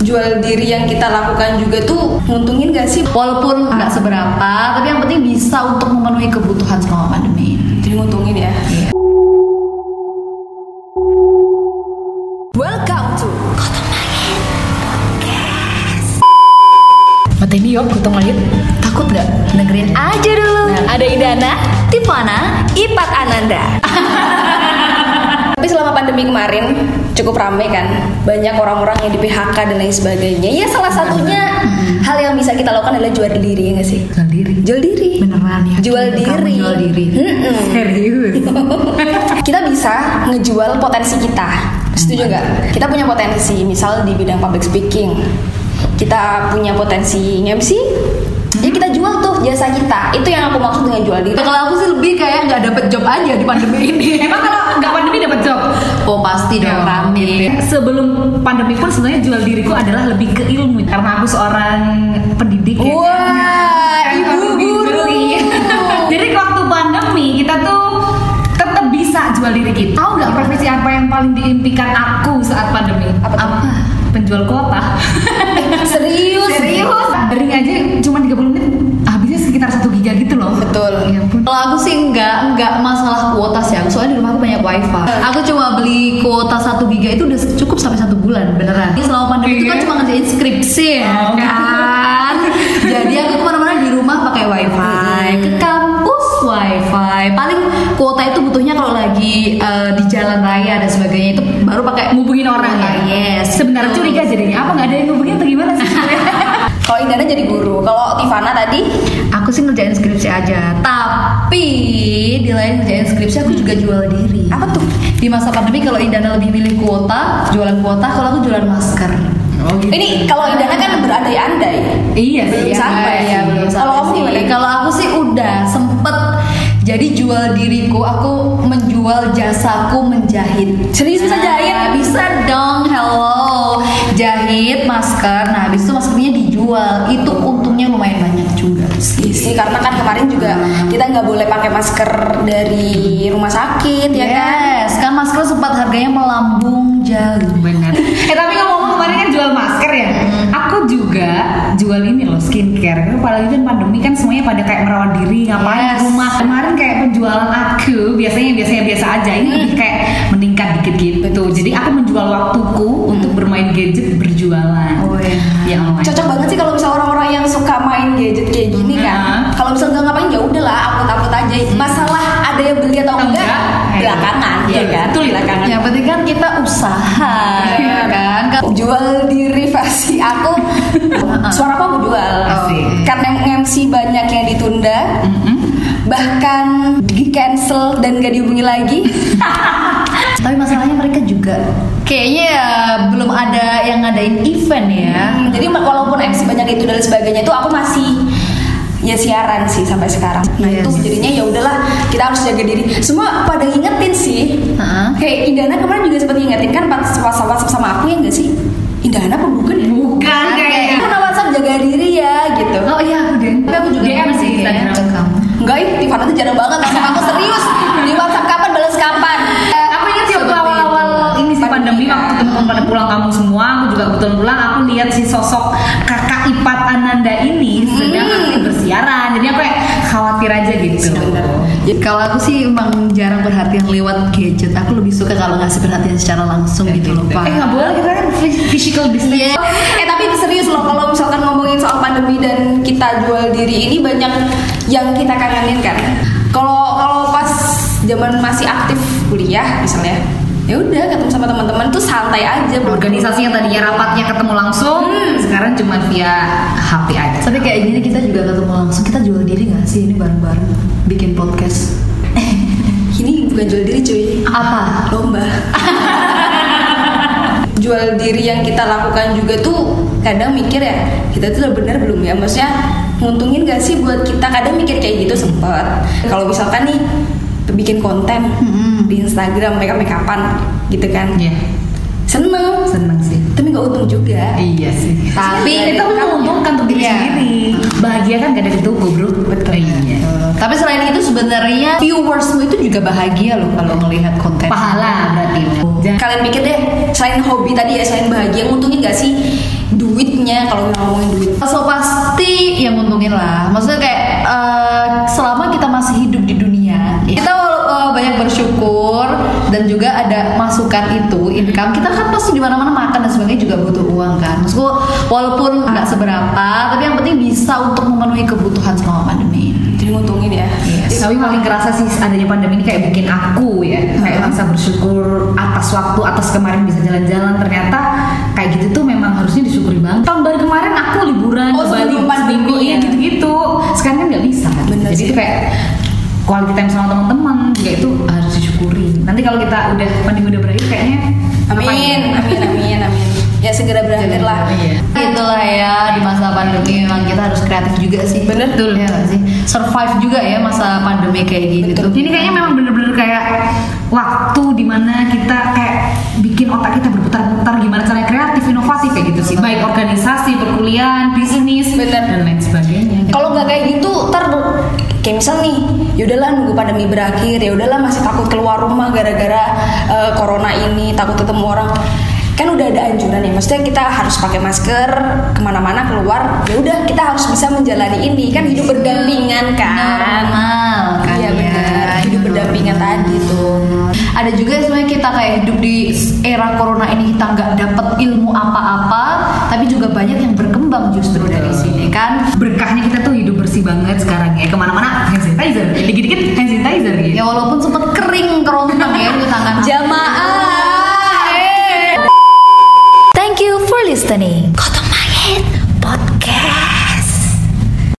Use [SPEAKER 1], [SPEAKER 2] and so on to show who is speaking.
[SPEAKER 1] jual diri yang kita lakukan juga tuh nguntungin gak sih? ah,
[SPEAKER 2] Walaupun nggak seberapa, tapi yang penting bisa untuk memenuhi kebutuhan selama pandemi.
[SPEAKER 1] Jadi nguntungin ya. Welcome to
[SPEAKER 3] Mateni yuk, gotong langit.
[SPEAKER 2] Takut nggak? Dengerin aja dulu.
[SPEAKER 1] Nah,
[SPEAKER 2] Nah,
[SPEAKER 3] Ada Idana.
[SPEAKER 2] Tifana,
[SPEAKER 1] Ipat Ananda. Tapi selama pandemi kemarin cukup ramai kan, banyak orang-orang yang di PHK dan lain sebagainya. Ya salah satunya hal yang bisa kita lakukan adalah jual diri ya nggak sih?
[SPEAKER 2] jual diri.
[SPEAKER 1] Jual diri.
[SPEAKER 2] Beneran ya?
[SPEAKER 1] Jual
[SPEAKER 2] Kamu
[SPEAKER 1] diri.
[SPEAKER 2] Jual diri.
[SPEAKER 3] Hmm.
[SPEAKER 1] Mm-mm.
[SPEAKER 2] Serius.
[SPEAKER 1] kita bisa ngejual potensi kita setuju nggak kita punya potensi misal di bidang public speaking kita punya potensi MC jadi kita jual tuh jasa kita itu yang aku maksud dengan jual diri
[SPEAKER 2] Kalau aku sih lebih kayak nggak dapet job aja di pandemi ini.
[SPEAKER 3] Emang kalau nggak pandemi dapat job? Ya
[SPEAKER 2] Oh pasti
[SPEAKER 1] Ya.
[SPEAKER 2] dong rame.
[SPEAKER 3] Sebelum pandemi pun sebenarnya jual diriku adalah lebih ke ilmu karena aku seorang pendidik. ya.
[SPEAKER 1] wah ibu guru
[SPEAKER 3] Jadi waktu pandemi kita tuh tetap bisa jual diri kita. Tahu nggak profesi apa yang paling diimpikan aku saat pandemi?
[SPEAKER 1] Apa tuh?
[SPEAKER 3] Penjual kuota.
[SPEAKER 1] serius
[SPEAKER 3] Serius? Bering aja cuma 30 menit habisnya sekitar 1 giga gitu loh.
[SPEAKER 1] betul
[SPEAKER 3] Ya ampun.
[SPEAKER 2] Kalau aku sih nggak nggak masalah kuota sih. Aku soalnya di rumah aku banyak wifi. Aku cuma beli kuota 1 giga itu udah cukup sampai satu bulan beneran. Ini selama pandemi itu kan
[SPEAKER 3] Iya.
[SPEAKER 2] cuma ngerjain skripsi ya
[SPEAKER 3] Oh.
[SPEAKER 2] kan. Jadi aku kemana-mana di rumah pakai wifi. Ke kampus wifi. Paling kuota itu butuhnya kalau lagi eh, di jalan raya dan sebagainya itu baru pakai
[SPEAKER 3] Ngubungin orang ya.
[SPEAKER 2] Iya, Yes.
[SPEAKER 3] Sebenarnya curiga jadinya apa nggak ada yang ngubungin atau gimana sih?
[SPEAKER 1] kalau Indana jadi guru kalau Tivana tadi
[SPEAKER 2] Aku sih ngerjain skripsi aja, tapi di lain ngerjain skripsi aku juga jual diri.
[SPEAKER 1] Apa tuh?
[SPEAKER 2] Di masa pandemi kalau Indana lebih milih kuota, jualan kuota, kalau aku jualan masker.
[SPEAKER 3] Oh, gitu.
[SPEAKER 1] ini kalau Indana kan berandai-andai
[SPEAKER 3] Iya
[SPEAKER 1] Belum
[SPEAKER 3] sih.
[SPEAKER 2] Iya,
[SPEAKER 1] sampai
[SPEAKER 2] iya,
[SPEAKER 1] sih.
[SPEAKER 2] belum sampai
[SPEAKER 1] Kalau kamu
[SPEAKER 2] sih.
[SPEAKER 1] gimana?
[SPEAKER 2] Kalau aku sih udah sempet jadi jual diriku, aku menjual jasaku menjahit.
[SPEAKER 1] Serius bisa jahit?
[SPEAKER 2] Nah, bisa dong, hello. Jahit masker, nah habis itu maskernya dijual. Itu untungnya lumayan banyak juga sih.
[SPEAKER 1] sih karena kan kemarin juga kita nggak boleh pakai masker dari rumah sakit ya kan
[SPEAKER 2] Yes, kan masker sempat harganya melambung jauh.
[SPEAKER 3] Benar. Eh tapi ngomong kemarin kan jual masker ya.
[SPEAKER 1] Hmm.
[SPEAKER 3] Aku juga jual ini loh skincare. Karena apalagi kan pandemi kan semuanya pada kayak merawat diri, ngapain di
[SPEAKER 2] Yes.
[SPEAKER 3] rumah. Kemarin kayak penjualan aku biasanya biasanya biasa aja. Ini lebih kayak meningkat dikit gitu. Jadi aku menjual waktuku
[SPEAKER 1] Hmm.
[SPEAKER 3] untuk bermain gadget berjualan. Ya,
[SPEAKER 2] Oh, iya.
[SPEAKER 3] Yang lumayan.
[SPEAKER 1] cocok banget sih kalau misalnya orang-orang yang suka main gadget kayak gini kan
[SPEAKER 3] Nah.
[SPEAKER 1] kalau misalnya nggak ngapain ya udahlah upload-upload aja masalah ada yang beli Hmm. atau
[SPEAKER 3] Atau
[SPEAKER 1] enggak,
[SPEAKER 3] enggak,
[SPEAKER 1] belakangan ya
[SPEAKER 3] betul,
[SPEAKER 1] kan
[SPEAKER 3] betul.
[SPEAKER 1] belakangan
[SPEAKER 2] Yang penting kan kita usaha,
[SPEAKER 1] Iya.
[SPEAKER 2] ya kan? Kan-
[SPEAKER 1] jual diri versi aku suara aku aku jual
[SPEAKER 3] Asik.
[SPEAKER 1] karena yang MC banyak yang ditunda
[SPEAKER 3] Mm-mm.
[SPEAKER 1] bahkan di cancel dan gak dihubungi lagi
[SPEAKER 2] Tapi masalahnya mereka juga kayaknya ya belum ada yang ngadain event ya.
[SPEAKER 1] Hmm, jadi ma- walaupun MC banyak itu dan sebagainya itu aku masih ya siaran sih sampai sekarang. Nah
[SPEAKER 2] Yes.
[SPEAKER 3] Iya,
[SPEAKER 1] itu jadinya ya udahlah kita harus jaga diri. Semua pada ngingetin sih.
[SPEAKER 2] Heeh.
[SPEAKER 1] Kayak Indana kemarin juga sempat ngingetin kan pas WhatsApp WhatsApp sama aku ya nggak sih? Indana apa bukan ya?
[SPEAKER 3] Bukan
[SPEAKER 1] Kayak gitu.
[SPEAKER 3] kayaknya.
[SPEAKER 1] karena WhatsApp jaga diri ya gitu.
[SPEAKER 2] Oh iya aku deh. Tapi aku juga
[SPEAKER 3] DM sih
[SPEAKER 2] kayaknya
[SPEAKER 3] Instagram.
[SPEAKER 2] ke Iya, kamu.
[SPEAKER 1] Enggak ih, Tivana tuh jarang banget. WhatsApp aku serius. Di WhatsApp kapan balas kapan? Eh,
[SPEAKER 3] Aku ingat sih waktu
[SPEAKER 2] Seperti
[SPEAKER 3] awal-awal
[SPEAKER 2] itu.
[SPEAKER 3] ini sih pandemi, ya. waktu teman-teman pada pulang kampung semua, aku juga kebetulan pulang, aku lihat si sosok kakak ipat Ananda ini sedang aktif bersiaran, jadi aku kayak khawatir aja gitu.
[SPEAKER 2] Ya, kalau aku sih emang jarang perhatian lewat gadget. Aku lebih suka kalau ngasih perhatian secara langsung gitu loh, Pak.
[SPEAKER 3] Eh nggak boleh kita kan physical distance.
[SPEAKER 2] Iya.
[SPEAKER 1] Eh tapi serius loh kalau misalkan ngomongin soal pandemi dan kita jual diri ini banyak yang kita kangenin kan. Kalau kalau pas zaman masih aktif kuliah misalnya, ya udah ketemu sama teman-teman tuh santai aja belum-
[SPEAKER 3] Organisasi yang tadinya ya, rapatnya ketemu langsung, sekarang cuma via HP aja.
[SPEAKER 2] Tapi kayak gini kita juga ketemu langsung. Kita jual diri nggak sih ini bareng-bareng bikin podcast?
[SPEAKER 1] Ini bukan jual diri cuy,
[SPEAKER 2] Apa?
[SPEAKER 1] lomba. jual diri yang kita lakukan juga tuh kadang mikir ya kita tuh udah bener belum ya maksudnya nguntungin gak sih buat kita kadang mikir kayak gitu sempet kalau misalkan nih bikin konten
[SPEAKER 2] Mm-mm.
[SPEAKER 1] di Instagram mereka make upan gitu kan
[SPEAKER 3] Iya,
[SPEAKER 1] seneng
[SPEAKER 3] seneng sih.
[SPEAKER 1] tapi nggak untung juga
[SPEAKER 3] Iya sih.
[SPEAKER 2] Tapi
[SPEAKER 3] Tapi itu menguntungkan untuk diri
[SPEAKER 2] Iya.
[SPEAKER 3] sendiri. Bahagia kan gak dari tubuh, bro. Betul. Iya.
[SPEAKER 2] Tapi selain itu sebenarnya viewersmu itu juga bahagia loh kalau ngelihat konten.
[SPEAKER 3] Pahala berarti. Jangan
[SPEAKER 1] kalian pikir deh selain hobi tadi ya selain bahagia nguntungin gak sih duitnya kalau kita ngomongin duit
[SPEAKER 2] So pasti yang nguntungin lah. Maksudnya kayak eh, selama kita masih hidup di dunia, kita wal- eh, banyak bersyukur dan juga ada masukan itu, income. Kita kan pasti di mana-mana makan dan sebagainya juga butuh uang kan. Maksudku walaupun nggak seberapa, tapi yang penting bisa untuk memenuhi kebutuhan selama pandemi.
[SPEAKER 1] jadi nguntungin
[SPEAKER 3] Iya.
[SPEAKER 1] ya
[SPEAKER 3] Tapi paling kerasa sih adanya pandemi ini kayak bikin aku ya kayak bisa bersyukur atas waktu atas kemarin bisa jalan-jalan ternyata kayak gitu tuh memang harusnya disyukuri banget. Tahun baru kemarin aku liburan ke
[SPEAKER 1] Oh,
[SPEAKER 3] Bali
[SPEAKER 1] sebelum pandemi
[SPEAKER 3] seminggu, iya,
[SPEAKER 1] ya.
[SPEAKER 3] gitu-gitu. Sekarang kan nggak bisa. kan.
[SPEAKER 1] Bener
[SPEAKER 3] Jadi
[SPEAKER 1] sih.
[SPEAKER 3] tuh kayak quality time sama teman-teman juga itu harus disyukuri. Nanti kalau kita udah pandemi udah berakhir kayaknya
[SPEAKER 1] amin amin amin amin ya segera berakhir lah
[SPEAKER 3] Iya.
[SPEAKER 2] Itulah ya di masa pandemi memang kita harus kreatif juga sih.
[SPEAKER 1] Bener.
[SPEAKER 2] tuh ya nggak sih. Survive juga ya masa pandemi kayak gini tuh.
[SPEAKER 3] Gitu. Ini kayaknya memang bener-bener kayak waktu dimana kita kayak bikin otak kita berputar-putar gimana caranya kreatif, inovatif kayak gitu sih. Baik organisasi, perkuliahan, bisnis,
[SPEAKER 1] Bener.
[SPEAKER 3] dan lain sebagainya.
[SPEAKER 1] kalau nggak kayak gitu ter kayak misal nih yaudahlah nunggu pandemi berakhir ya udahlah masih takut keluar rumah gara-gara eh, corona ini takut ketemu orang kan udah ada anjuran ya maksudnya kita harus pakai masker kemana-mana keluar ya udah kita harus bisa menjalani ini kan hidup berdampingan kan
[SPEAKER 2] normal kan
[SPEAKER 1] Iya,
[SPEAKER 2] ya,
[SPEAKER 1] benar.
[SPEAKER 2] Ini
[SPEAKER 1] Hidup berdampingan
[SPEAKER 2] normal.
[SPEAKER 1] tadi tuh.
[SPEAKER 2] ada juga sebenarnya kita kayak hidup di era corona ini kita nggak dapat ilmu apa-apa tapi juga banyak yang berkembang justru dari sini kan
[SPEAKER 3] Berkahnya kita tuh hidup bersih banget sekarang ya. Kemana-mana hand sanitizer, dikit-dikit hand sanitizer gitu.
[SPEAKER 2] ya walaupun sempat kering corona Eh.